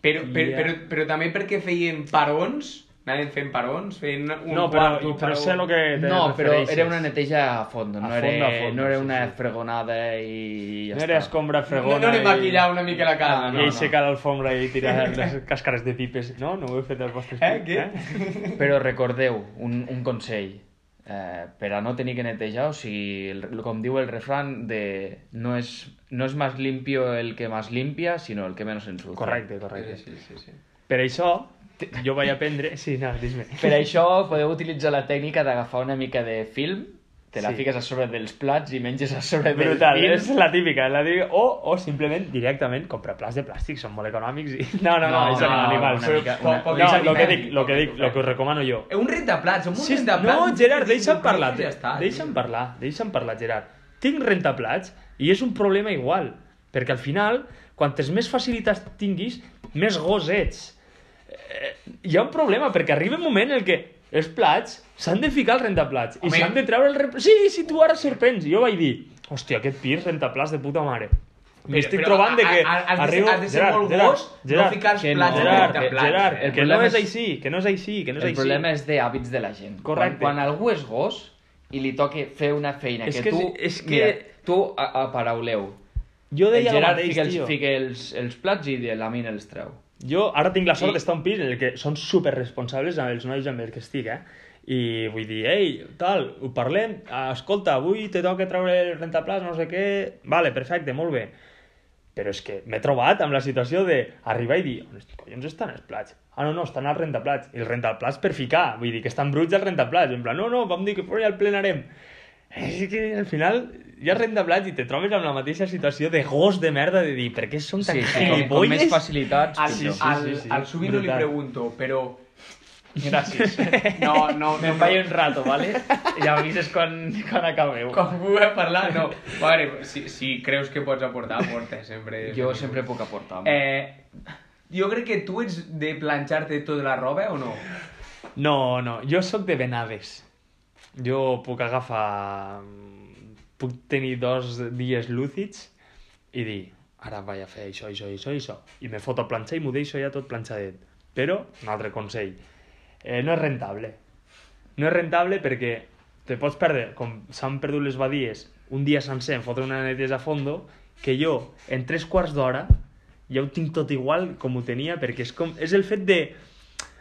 Speaker 3: Però, per,
Speaker 2: Ja.
Speaker 3: però, però també perquè feien parons Anàvem fent parons, fent un
Speaker 2: No,
Speaker 3: quart,
Speaker 2: però,
Speaker 3: un
Speaker 2: però
Speaker 3: paró.
Speaker 2: sé el que te
Speaker 4: No, però
Speaker 2: refereixes.
Speaker 4: era una neteja a fondo,
Speaker 2: Eh, A
Speaker 4: no,
Speaker 2: fondo,
Speaker 4: era,
Speaker 2: a fondo,
Speaker 4: no era
Speaker 2: sí,
Speaker 4: una
Speaker 2: sí.
Speaker 4: fregonada i ja
Speaker 2: No era
Speaker 4: està.
Speaker 2: escombra
Speaker 3: No,
Speaker 2: fregona Ah,
Speaker 3: no li
Speaker 2: i-
Speaker 3: maquillar una mica la cara.
Speaker 2: I
Speaker 3: no, no.
Speaker 2: aixecar l'alfombra i tirar les càscares de pipes. No, no ho heu fet als vostres
Speaker 3: Eh,
Speaker 2: fills,
Speaker 3: què?
Speaker 4: Però recordeu, un, un consell, eh, per a no tenir que netejar, o sigui, el- com diu el refran, de no és, no és más limpio el que más limpia, sinó el que menos ensucia.
Speaker 2: Correcte, correcte.
Speaker 3: Sí, sí, sí.
Speaker 2: Per això, t- jo vaig aprendre... Sí, no, dis-me.
Speaker 4: Per això podeu utilitzar la tècnica d'agafar una mica de film, te la
Speaker 2: Sí.
Speaker 4: fiques a sobre dels plats i menges a sobre del
Speaker 2: Brutal,
Speaker 4: film.
Speaker 2: és la típica, la típica. O, o simplement, directament, comprar plats de plàstic, són molt econòmics i... No, no, no,
Speaker 4: No,
Speaker 2: és
Speaker 4: no,
Speaker 2: animal.
Speaker 4: una
Speaker 2: Però-
Speaker 4: mica-
Speaker 2: No,
Speaker 4: una-
Speaker 2: el
Speaker 3: una-
Speaker 2: que dic, el que dic, el que us recomano jo.
Speaker 3: Eh, Un rentaplats, amb un
Speaker 2: Sí,
Speaker 3: rentaplats...
Speaker 2: no, Gerard, deixa'm parlar.
Speaker 3: Ja està,
Speaker 2: Deixa'm
Speaker 3: tio.
Speaker 2: parlar, deixa'm parlar, Gerard. Tinc rentaplats i és un problema igual. Perquè al final, quantes més facilitats tinguis, més gos ets. Eh, hi ha un problema, perquè arriba un moment en el que els plats s'han de ficar al rentaplats i
Speaker 3: Home.
Speaker 2: s'han de treure el... rep- Sí, sí, tu ara sorprens. Jo vaig dir, hòstia, aquest pis rentaplats de puta mare. M'estic
Speaker 3: Però- però
Speaker 2: trobant de que
Speaker 3: ha- ha- has de ser- has de ser molt gos no ficar els
Speaker 2: que
Speaker 4: plats al
Speaker 2: Gerard,
Speaker 4: rentaplats.
Speaker 2: Gerard,
Speaker 3: eh?
Speaker 4: El
Speaker 2: que no
Speaker 4: problema
Speaker 2: és
Speaker 4: és-
Speaker 2: així, que no és així, que no és
Speaker 4: El
Speaker 2: així.
Speaker 4: problema és de hàbits de la gent.
Speaker 2: Correcte.
Speaker 4: Quan, quan algú és gos i li toque fer una feina
Speaker 2: És
Speaker 4: que,
Speaker 2: que
Speaker 4: tu...
Speaker 2: és- és que-
Speaker 4: Mira, tu a- aparauleu.
Speaker 2: Jo
Speaker 4: El
Speaker 2: deia el
Speaker 4: Gerard
Speaker 2: mateix,
Speaker 4: fica, els,
Speaker 2: tio.
Speaker 4: fica els, els plats i de la mina els treu.
Speaker 2: Jo ara tinc la sort
Speaker 4: I-
Speaker 2: d'estar a un pis en el que són superresponsables amb els nois amb els que estic, eh? I vull dir, ei, tal, ho parlem, ah, escolta, avui te toca treure el rentaplats, no sé què... Vale, perfecte, molt bé. Però és que m'he trobat amb la situació d'arribar i dir, on est- collons estan els plats? Ah, no, no, estan al rentaplats. I el rentaplats per ficar, vull dir que estan bruts els rentaplats. En plan, no, no, vam dir que ja el plenarem. És que al final hi ha rentaplats i te trobes amb la mateixa situació de gos de merda de dir, per què són tan
Speaker 4: Sí,
Speaker 2: sí,
Speaker 4: sí, com, com més facilitats,
Speaker 3: Al,
Speaker 4: pitjor.
Speaker 2: Eh, sí,
Speaker 3: al,
Speaker 2: sí, sí.
Speaker 3: al Subino li
Speaker 2: Brutal.
Speaker 3: pregunto, però...
Speaker 4: Gràcies.
Speaker 3: No, no,
Speaker 4: Me
Speaker 3: no.
Speaker 4: fallo un rato, ¿vale? Ja m'avises quan, quan acabeu.
Speaker 3: Com puguem parlar, no. Vale, pues si, si creus que pots aportar, aporta, sempre.
Speaker 4: Jo sempre puc aportar. Eh,
Speaker 3: Eh, jo crec que tu ets de planxar-te tota la roba o no?
Speaker 2: No, no, jo sóc de Benades. Jo puc agafar... Puc tenir dos dies lúcids i dir, ara vaig a fer això, això, això, això. I me foto a planxar i m'ho deixo ja tot planxadet. Però, un altre consell, eh, no és rentable. No és rentable perquè te pots perdre, com s'han perdut les badies, un dia sencer em fotre una neteja a fondo, que jo, en tres quarts d'hora, ja ho tinc tot igual com ho tenia, perquè és, com, és el fet de...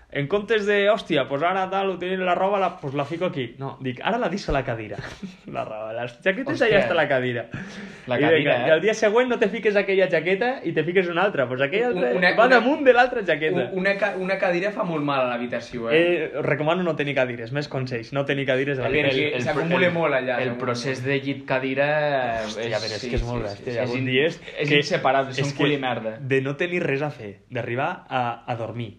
Speaker 2: En comptes de, hòstia, pues ara tal, ho tenia la roba, la, pues la fico aquí. No, dic, ara la deixo a la cadira. La roba, les jaquetes
Speaker 4: Hòstia.
Speaker 2: hòstia. allà està a la cadira.
Speaker 4: La
Speaker 2: I
Speaker 4: cadira,
Speaker 2: I
Speaker 4: eh?
Speaker 2: el dia següent no te fiques aquella jaqueta i te fiques una altra. Pues aquella
Speaker 3: Un-
Speaker 2: altra
Speaker 3: una-
Speaker 2: va
Speaker 3: una-
Speaker 2: damunt de l'altra jaqueta.
Speaker 3: U- Una, ca- una cadira fa molt mal a l'habitació, eh?
Speaker 2: Eh, recomano no tenir cadires, més consells, no tenir cadires a la
Speaker 3: Perquè
Speaker 2: vida.
Speaker 3: s'acumula molt allà,
Speaker 4: El
Speaker 3: s'acumula
Speaker 4: procés de llit cadira...
Speaker 2: Hòstia, però és que és molt bèstia. hi ha
Speaker 4: és
Speaker 2: algun
Speaker 4: in-
Speaker 2: dia és
Speaker 4: És
Speaker 2: que-
Speaker 4: inseparable, és un
Speaker 2: que
Speaker 4: cul i merda.
Speaker 2: De no tenir res a fer, d'arribar a, a dormir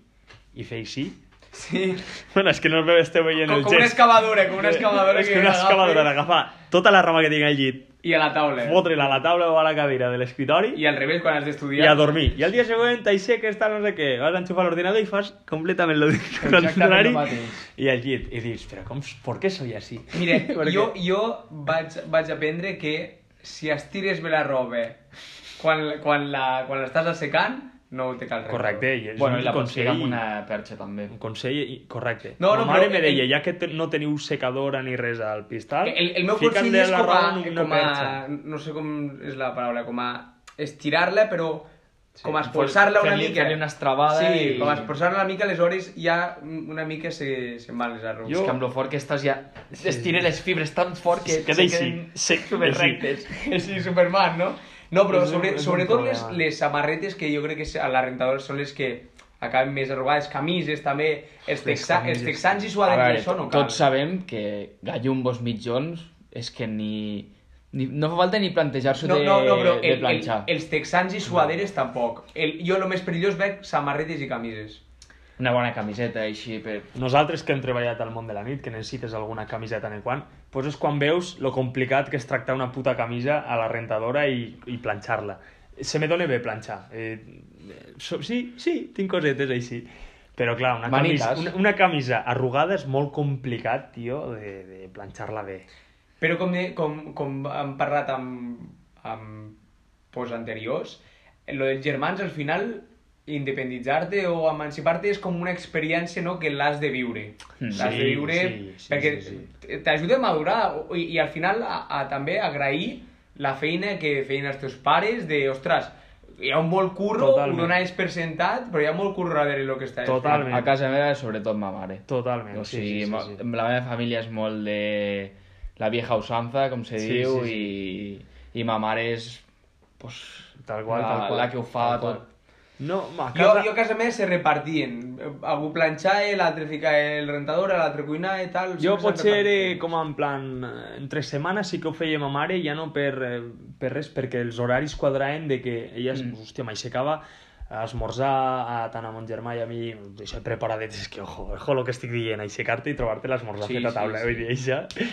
Speaker 2: i fer així...
Speaker 3: Sí.
Speaker 2: Bueno, és que no me esteu veient
Speaker 3: Com,
Speaker 2: el
Speaker 3: com una
Speaker 2: gest. Eh,
Speaker 3: excavadora, com una excavadora
Speaker 2: és que una
Speaker 3: agafi
Speaker 2: excavadora d'agafar tota la roba que tinc al llit,
Speaker 3: I a la taula.
Speaker 2: fotre-la a la taula o a la cadira de l'escritori
Speaker 3: I al revés, quan has
Speaker 2: i
Speaker 3: d'estudiar.
Speaker 2: a dormir. I al dia següent t'aixeques, tal, no sé què, vas a enxufar l'ordinador i fas completament lo contrari
Speaker 4: el mateix.
Speaker 2: i al llit. I dius, però com, per què soy així?
Speaker 3: Mira,
Speaker 2: Per
Speaker 3: jo,
Speaker 2: què?
Speaker 3: jo vaig, vaig aprendre que si estires bé la roba quan, quan la- quan l'estàs assecant, no te cal res.
Speaker 2: Correcte, i és
Speaker 4: Bueno,
Speaker 2: un
Speaker 4: i la pots
Speaker 2: consell...
Speaker 4: ficar amb una perxa, també.
Speaker 2: Un consell i- correcte.
Speaker 3: No,
Speaker 2: No,
Speaker 3: no,
Speaker 2: no, Ma mare
Speaker 3: però-
Speaker 2: me deia,
Speaker 3: el-
Speaker 2: ja que te, no teniu secadora ni res al pistal,
Speaker 3: El, el meu
Speaker 2: fica-li
Speaker 3: consell és
Speaker 2: la
Speaker 3: com a,
Speaker 2: roba en una
Speaker 3: com a...
Speaker 2: perxa.
Speaker 3: No sé com és la paraula, com a estirar-la, però com a
Speaker 4: fer-
Speaker 3: esforçar-la una
Speaker 4: fer-li-
Speaker 3: mica.
Speaker 4: fer-li una estrabada
Speaker 3: Sí,
Speaker 4: i-
Speaker 3: com a esforçar-la una mica, aleshores ja una mica se, se'n van les arrugues.
Speaker 4: És que amb lo fort que estàs ja... Estira les fibres tan fort que
Speaker 2: Es queda així.
Speaker 4: se
Speaker 2: Sí.
Speaker 4: queden rectes.
Speaker 3: Sí, Superman, no? No, però
Speaker 2: És un-
Speaker 3: sobre,
Speaker 2: és un
Speaker 3: sobretot les,
Speaker 2: problema.
Speaker 3: les samarretes que jo crec que a la rentadora són les que acaben més arrugades, camises també, els,
Speaker 2: Les
Speaker 3: texa, els
Speaker 2: camises.
Speaker 3: texans i
Speaker 4: A
Speaker 3: suaden
Speaker 4: veure,
Speaker 3: això no cal.
Speaker 4: tots sabem que gallumbos mitjons és que ni... ni no fa falta ni plantejar-s'ho
Speaker 3: no,
Speaker 4: de,
Speaker 3: no, no, però
Speaker 4: de
Speaker 3: el, el,
Speaker 4: planxar.
Speaker 3: els texans i suaderes tampoc. El, jo el més perillós veig samarretes i camises.
Speaker 4: Una bona camiseta així per...
Speaker 2: Nosaltres que hem treballat al món de la nit, que necessites alguna camiseta en el quan, doncs és quan veus lo complicat que és tractar una puta camisa a la rentadora i, i planxar-la. Se me dóna bé planxar. Eh, eh, so, sí, sí, tinc cosetes així. Però clar, una camisa,
Speaker 4: Manitas.
Speaker 2: una, una camisa arrugada és molt complicat, tio, de, de planxar-la bé.
Speaker 3: Però com, de- com, com hem parlat amb, amb post anteriors, lo dels germans al final independitzar-te o emancipar-te és com una experiència no, que l'has de viure.
Speaker 4: Mm.
Speaker 3: L'has de
Speaker 2: Sí,
Speaker 3: viure
Speaker 2: sí, sí,
Speaker 3: perquè
Speaker 2: sí, sí.
Speaker 3: t- t'ajuda a madurar o- i, i al final a, a, també agrair la feina que feien els teus pares de, ostres, hi ha un molt curro,
Speaker 2: Totalment.
Speaker 3: ho donaves per sentat, però hi ha molt curro darrere el que estàs
Speaker 2: Total. Totalment.
Speaker 4: A, a casa meva, sobretot ma mare.
Speaker 2: Totalment.
Speaker 4: O
Speaker 2: sí,
Speaker 4: sigui,
Speaker 2: sí, sí,
Speaker 4: ma-
Speaker 2: sí.
Speaker 4: la meva família és molt de la vieja usanza, com se
Speaker 2: Sí,
Speaker 4: diu,
Speaker 2: sí,
Speaker 4: i, i ma mare és pues,
Speaker 2: Tal qual,
Speaker 4: la,
Speaker 2: tal qual,
Speaker 4: la que ho fa
Speaker 2: tal qual.
Speaker 4: tot.
Speaker 2: No, ma, a
Speaker 3: Jo,
Speaker 2: casa...
Speaker 3: jo a casa meva se repartien. Algú planxava, l'altre ficava el rentador, l'altre cuinava i tal.
Speaker 2: Jo
Speaker 3: sempre se'n
Speaker 2: potser eh,
Speaker 3: repartien.
Speaker 2: com en plan, eh, entre setmanes sí que ho feia ma mare, ja no per, eh, per res, perquè els horaris quadraven de que ella, mm. hòstia, m'aixecava a esmorzar a, tant a mon germà i a mi, això preparadet, és que ojo, ojo lo que estic dient, aixecar-te i trobar-te l'esmorzar sí,
Speaker 3: Sí,
Speaker 2: fet a
Speaker 3: sí,
Speaker 2: taula. Sí,
Speaker 3: sí.
Speaker 2: sí. Vull dir,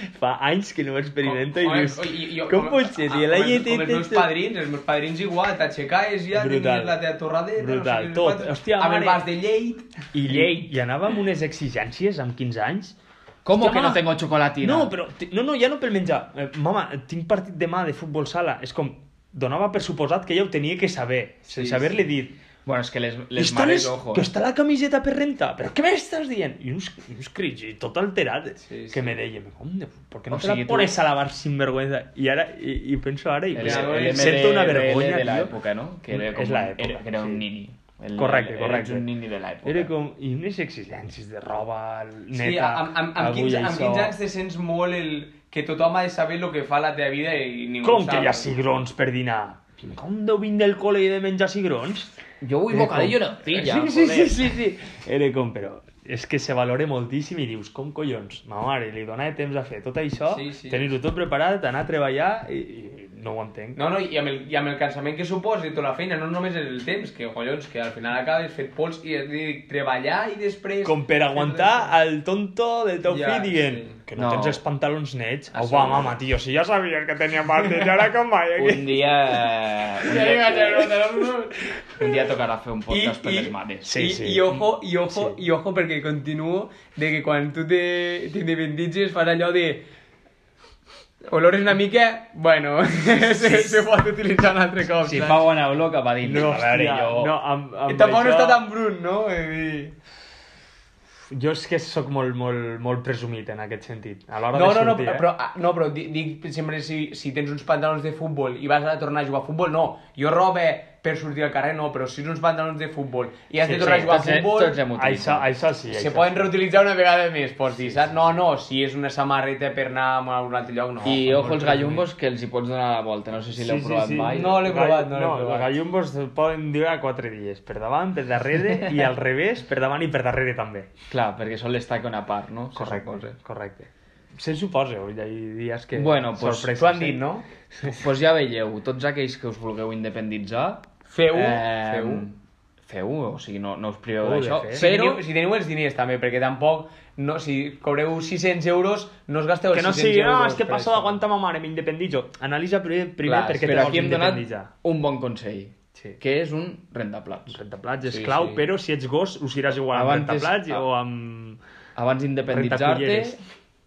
Speaker 2: això fa anys que no ho experimento i
Speaker 3: Com- com-
Speaker 2: dius,
Speaker 3: oi, i- jo-
Speaker 2: com
Speaker 3: com-
Speaker 2: pot ser?
Speaker 3: ah,
Speaker 2: Tia, la
Speaker 3: com els-
Speaker 2: llet...
Speaker 3: Com els meus padrins, els meus padrins igual, t'aixecaves ja,
Speaker 2: Brutal.
Speaker 3: tenies la teva torradeta...
Speaker 2: Brutal,
Speaker 3: no sé,
Speaker 2: tot.
Speaker 3: quantos-
Speaker 2: Hòstia,
Speaker 3: Amb el
Speaker 2: mare.
Speaker 3: vas de lleit...
Speaker 2: I llei, i anava amb unes exigències amb 15 anys.
Speaker 4: ¿Cómo
Speaker 2: Hòstia,
Speaker 4: que no
Speaker 2: ma,
Speaker 4: tengo chocolatina?
Speaker 2: No, però, ti- no, no, ja no pel menjar. Eh, mama, tinc partit demà de futbol sala. És com, donava per suposat que ella ho tenia que saber,
Speaker 3: Sí,
Speaker 2: sense haver-li
Speaker 3: sí.
Speaker 2: dit.
Speaker 4: Bueno, és que les, les
Speaker 2: Està
Speaker 4: mares,
Speaker 2: les-
Speaker 4: ojo. eh."
Speaker 2: Que està la camiseta per renta. Però què m'estàs dient? I uns, i uns crits, i tot alterat, eh,
Speaker 3: Sí,
Speaker 2: que
Speaker 3: sí.
Speaker 2: me deia, com, de- per què no
Speaker 4: O
Speaker 2: te la
Speaker 4: sigui, tu-
Speaker 2: pones a lavar sin vergüenza? I ara, i, i penso ara, i
Speaker 4: El,
Speaker 2: penso,
Speaker 4: el
Speaker 2: sento una
Speaker 4: MDRL
Speaker 2: vergonya,
Speaker 4: de la
Speaker 2: tio.
Speaker 4: época, ¿no? Que era
Speaker 2: És
Speaker 4: com,
Speaker 2: la
Speaker 4: un-
Speaker 2: època,
Speaker 4: Era, que era un
Speaker 2: sí.
Speaker 4: nini. El,
Speaker 2: Correcte,
Speaker 4: el-
Speaker 2: correcte.
Speaker 4: Eres un nini de l'època.
Speaker 2: Era com, i unes exigències de roba neta,
Speaker 3: sí, amb, amb, amb,
Speaker 2: agulla
Speaker 3: 15,
Speaker 2: i
Speaker 3: amb
Speaker 2: so.
Speaker 3: 15 anys te sents molt el... Que tothom ha de saber el que fa la teva vida i ningú ho
Speaker 2: Com que
Speaker 3: sap.
Speaker 2: hi ha cigrons per dinar? Com deu vindre del col·le i de menjar cigrons?
Speaker 4: Jo vull
Speaker 2: Era
Speaker 4: bocadillo
Speaker 2: com-
Speaker 4: en arcilla,
Speaker 2: Sí, sí, sí,
Speaker 4: joder.
Speaker 2: sí, sí. Era com, però és que se valora moltíssim i dius, com collons, ma mare, li donava temps a fer tot això,
Speaker 3: Sí, sí.
Speaker 2: tenir-ho tot preparat, anar a treballar, i, i no ho entenc.
Speaker 3: No, no, i amb, el, i amb el cansament que suposa i tota la feina, no només és el temps, que collons, que al final acabes fet pols i et dic, treballar i després...
Speaker 2: Com per aguantar el tonto del teu
Speaker 3: Ja,
Speaker 2: fill dient
Speaker 3: sí. Ah,
Speaker 2: que no,
Speaker 4: No.
Speaker 2: tens els pantalons nets.
Speaker 4: A
Speaker 2: Au, va,
Speaker 4: sobre.
Speaker 2: mama, tio, si ja sabies que tenia pantalons, ara com mai
Speaker 4: Un
Speaker 2: aquí.
Speaker 4: dia... eh, Un dia, un dia tocarà fer un podcast
Speaker 3: I-
Speaker 4: per
Speaker 3: i-
Speaker 4: les mares.
Speaker 2: Sí,
Speaker 3: Sí, I,
Speaker 2: sí.
Speaker 3: sí. I ojo, i ojo,
Speaker 2: Sí.
Speaker 3: sí. i ojo perquè continuo de que quan tu te- t'independitzes fas allò de olores una mica, bueno, se, se pot utilitzar un altre cop,
Speaker 4: Si
Speaker 3: saps?
Speaker 4: fa bona olor, cap a dir,
Speaker 2: No,
Speaker 4: a veure,
Speaker 2: hòstia,
Speaker 4: jo...
Speaker 2: no, amb, amb
Speaker 3: I tampoc no
Speaker 2: això-
Speaker 3: està tan brut, no? Vull dir...
Speaker 2: Jo és que sóc molt, molt, molt presumit en aquest sentit. A l'hora
Speaker 3: No,
Speaker 2: de
Speaker 3: no, no,
Speaker 2: sortir, eh?
Speaker 3: però, ah, no, però di- dic sempre si, si tens uns pantalons de futbol i vas a tornar a jugar a futbol, no. Jo roba per sortir al carrer, no, però si tens uns pantalons de futbol i has
Speaker 2: Sí,
Speaker 3: de tornar
Speaker 2: sí,
Speaker 3: a jugar
Speaker 4: tots
Speaker 3: a
Speaker 4: he-
Speaker 3: futbol...
Speaker 4: tots hem
Speaker 2: Això, això sí,
Speaker 3: se
Speaker 2: això.
Speaker 3: poden reutilitzar una vegada més, pots dir, saps? No, no, si és una samarreta per anar a un altre lloc, no.
Speaker 4: I
Speaker 2: Oh,
Speaker 4: ojo els gallumbos, que els hi pots donar la volta. No sé si l'heu provat mai.
Speaker 3: No l'he provat, no l'he
Speaker 2: no
Speaker 3: provat.
Speaker 2: els gallumbos es poden durar quatre dies, per davant, per darrere, i al revés, per davant i per darrere també.
Speaker 4: Clar, perquè sol destaca una part, no? Se
Speaker 2: Correcte,
Speaker 4: suposa.
Speaker 2: correcte. Se suposa, hi ha dies que...
Speaker 4: Bueno, pues,
Speaker 2: sorpreses,
Speaker 4: t'ho han
Speaker 2: eh?
Speaker 4: dit, no? Doncs pues ja veieu, tots aquells que us vulgueu independitzar...
Speaker 3: Feu,
Speaker 4: eh,
Speaker 3: feu.
Speaker 4: Feu, o sigui, no, no us
Speaker 2: Heu
Speaker 4: priveu
Speaker 2: de
Speaker 4: d'això.
Speaker 2: fer.
Speaker 3: Si,
Speaker 4: Però...
Speaker 3: teniu, si teniu els diners també, perquè tampoc, no, si cobreu 600 euros, no us gasteu els
Speaker 2: Que no
Speaker 3: 600
Speaker 2: sigui,
Speaker 3: euros.
Speaker 2: no, és que
Speaker 3: per
Speaker 2: passo
Speaker 3: això".
Speaker 2: d'aguantar ma mare, m'independitzo. Analitza primer, primer
Speaker 3: Clar,
Speaker 2: per què
Speaker 4: però
Speaker 2: te vols
Speaker 4: aquí hem donat
Speaker 2: independitzar.
Speaker 4: un bon consell,
Speaker 2: Sí.
Speaker 4: que és un rentaplats.
Speaker 2: Rentaplats és
Speaker 3: Sí,
Speaker 2: clau,
Speaker 3: sí.
Speaker 2: però si ets gos ho seràs igual amb
Speaker 4: Abans és-
Speaker 2: rentaplats
Speaker 4: ah.
Speaker 2: o amb...
Speaker 4: Abans d'independitzar-te,
Speaker 2: Rentaculleres.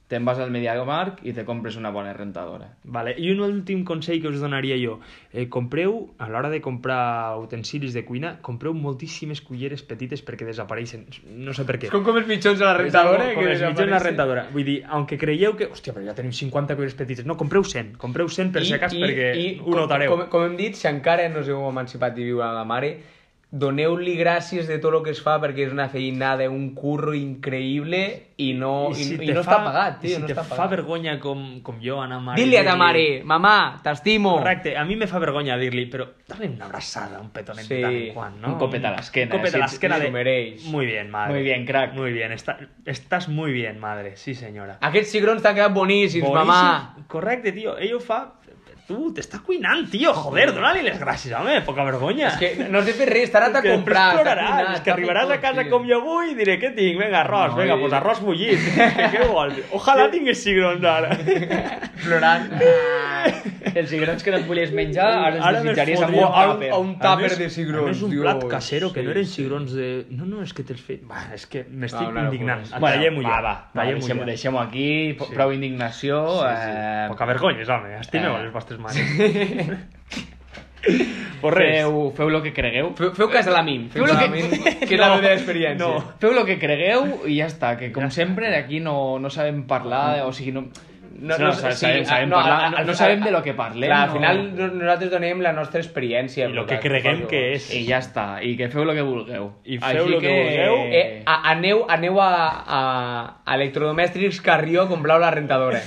Speaker 4: te'n vas al MediaMarkt i te compres una bona rentadora.
Speaker 2: Vale. I un últim consell que us donaria jo. Eh, compreu, a l'hora de comprar utensilis de cuina, compreu moltíssimes culleres petites perquè desapareixen. No sé per què.
Speaker 3: És com comes mitjons a la rentadora.
Speaker 2: Com
Speaker 3: que
Speaker 2: els mitjans a la
Speaker 3: desapareixen.
Speaker 2: rentadora. Vull dir, aunque creieu que... Hòstia, però ja tenim 50 culleres petites. No, compreu 100. Compreu 100 per si acas perquè ho
Speaker 3: com-
Speaker 2: notareu.
Speaker 3: Com, com hem dit, si encara no us heu emancipat i viu a la mare, doneu-li gràcies de tot el que es fa perquè és una feinada, un curro increïble i no, i, i,
Speaker 2: te
Speaker 3: no està pagat,
Speaker 2: i
Speaker 3: tio,
Speaker 2: si
Speaker 3: no
Speaker 2: te
Speaker 3: està
Speaker 2: fa
Speaker 3: pagat.
Speaker 2: vergonya com, com jo anar a mare...
Speaker 3: Dile a ta
Speaker 2: dir-li-
Speaker 3: mare, mamà, t'estimo.
Speaker 2: Correcte, a mi me fa vergonya dir-li, però dale una abraçada, un petonet
Speaker 3: Sí,
Speaker 2: de tant en quant, ¿no?
Speaker 4: un copet a la esquena,
Speaker 2: Un copet
Speaker 4: si
Speaker 2: a la
Speaker 4: ets-
Speaker 2: esquena
Speaker 3: si
Speaker 2: de...
Speaker 3: ho mereix.
Speaker 2: Muy bien, madre.
Speaker 4: Muy bien, crack.
Speaker 2: Muy bien, está- estás muy bien, madre. Sí, senyora.
Speaker 3: Aquests cigrons t'han quedat boníssims,
Speaker 2: Boníssim.
Speaker 3: mamà.
Speaker 2: Correcte, tio. Ell ho fa... Tu, t'està cuinant, tio. Joder, dona-li les gràcies, home. Poca vergonya.
Speaker 3: És que no has de fer res, t'ha anat a
Speaker 2: Que
Speaker 3: comprar.
Speaker 2: després
Speaker 3: t'ha
Speaker 2: ploraràs, és
Speaker 3: cuinat,
Speaker 2: que
Speaker 3: t'ha fet
Speaker 2: arribaràs
Speaker 3: tot,
Speaker 2: a casa
Speaker 3: tio.
Speaker 2: com jo avui i diré, què tinc? Vinga, arròs,
Speaker 3: No,
Speaker 2: vinga,
Speaker 3: i-
Speaker 2: pues arròs bullit. que, què vols? Ojalà tingués cigrons ara.
Speaker 3: Plorant.
Speaker 4: Els cigrons que no et volies menjar, ara els
Speaker 2: Ara me'ls
Speaker 4: desitjaries amb
Speaker 2: fotria
Speaker 4: un
Speaker 2: a un-
Speaker 4: tàper.
Speaker 3: a un-
Speaker 2: A més-
Speaker 3: tàper de cigrons,
Speaker 2: a més, un
Speaker 3: Dios.
Speaker 2: plat casero, que no
Speaker 3: Sí,
Speaker 2: eren
Speaker 3: sí.
Speaker 2: cigrons de... No, no, és que te'ls feien... Va, és que m'estic
Speaker 3: Va, una locura.
Speaker 2: indignant.
Speaker 3: Bueno,
Speaker 4: Bueno,
Speaker 2: Tallem-ho
Speaker 4: va,
Speaker 2: ja.
Speaker 4: va, va
Speaker 2: Tallem-ho
Speaker 4: deixem-ho
Speaker 2: ja.
Speaker 4: deixem aquí, po-
Speaker 2: Sí.
Speaker 4: prou indignació.
Speaker 2: Sí, Eh. sí.
Speaker 4: eh,
Speaker 2: Poca vergonya, home. Estimeu
Speaker 4: eh.
Speaker 2: les vostres mares. Pues res.
Speaker 4: Feu, feu lo que cregueu.
Speaker 3: Feu, feu cas de la MIM. Feu
Speaker 4: Feu lo
Speaker 3: cas de la
Speaker 4: que-
Speaker 3: MIM, que és la
Speaker 2: No,
Speaker 3: meva experiència.
Speaker 2: no.
Speaker 4: Feu lo que cregueu i ja està, que com sempre aquí no, no sabem parlar, o sigui, no... No, ah,
Speaker 2: Sí, no, sa-
Speaker 3: sabem- sabem
Speaker 4: no,
Speaker 3: parlar,
Speaker 4: a- a-
Speaker 3: no-
Speaker 4: no sabem de lo que parlem.
Speaker 3: Clar, al
Speaker 4: no.
Speaker 3: final no- nosaltres donem la nostra experiència.
Speaker 2: I lo
Speaker 3: per
Speaker 2: que
Speaker 3: tant,
Speaker 2: creguem
Speaker 3: per
Speaker 2: que
Speaker 3: favor.
Speaker 2: és.
Speaker 4: I ja està, i que feu lo que vulgueu.
Speaker 2: I feu lo que vulgueu.
Speaker 3: Eh,
Speaker 4: ah,
Speaker 3: a, aneu, aneu a, a, a Electrodomèstics Carrió a comprar la rentadora.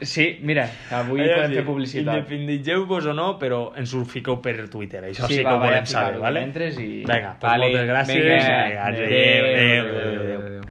Speaker 4: Sí, mira, avui
Speaker 2: Allò
Speaker 4: podem
Speaker 2: sí,
Speaker 4: fer publicitat.
Speaker 2: Independitzeu-vos o no, però ens ho fiqueu per Twitter. Això
Speaker 4: Sí,
Speaker 2: sí,
Speaker 4: va,
Speaker 2: que ho
Speaker 4: vaja,
Speaker 2: volem saber,
Speaker 4: ficar-ho,
Speaker 2: vale?
Speaker 4: entres i-
Speaker 2: Vinga, doncs
Speaker 3: Vale,
Speaker 2: moltes gràcies.
Speaker 3: vinga,
Speaker 2: Vinga, adéu,
Speaker 3: adéu,
Speaker 2: adéu, adéu.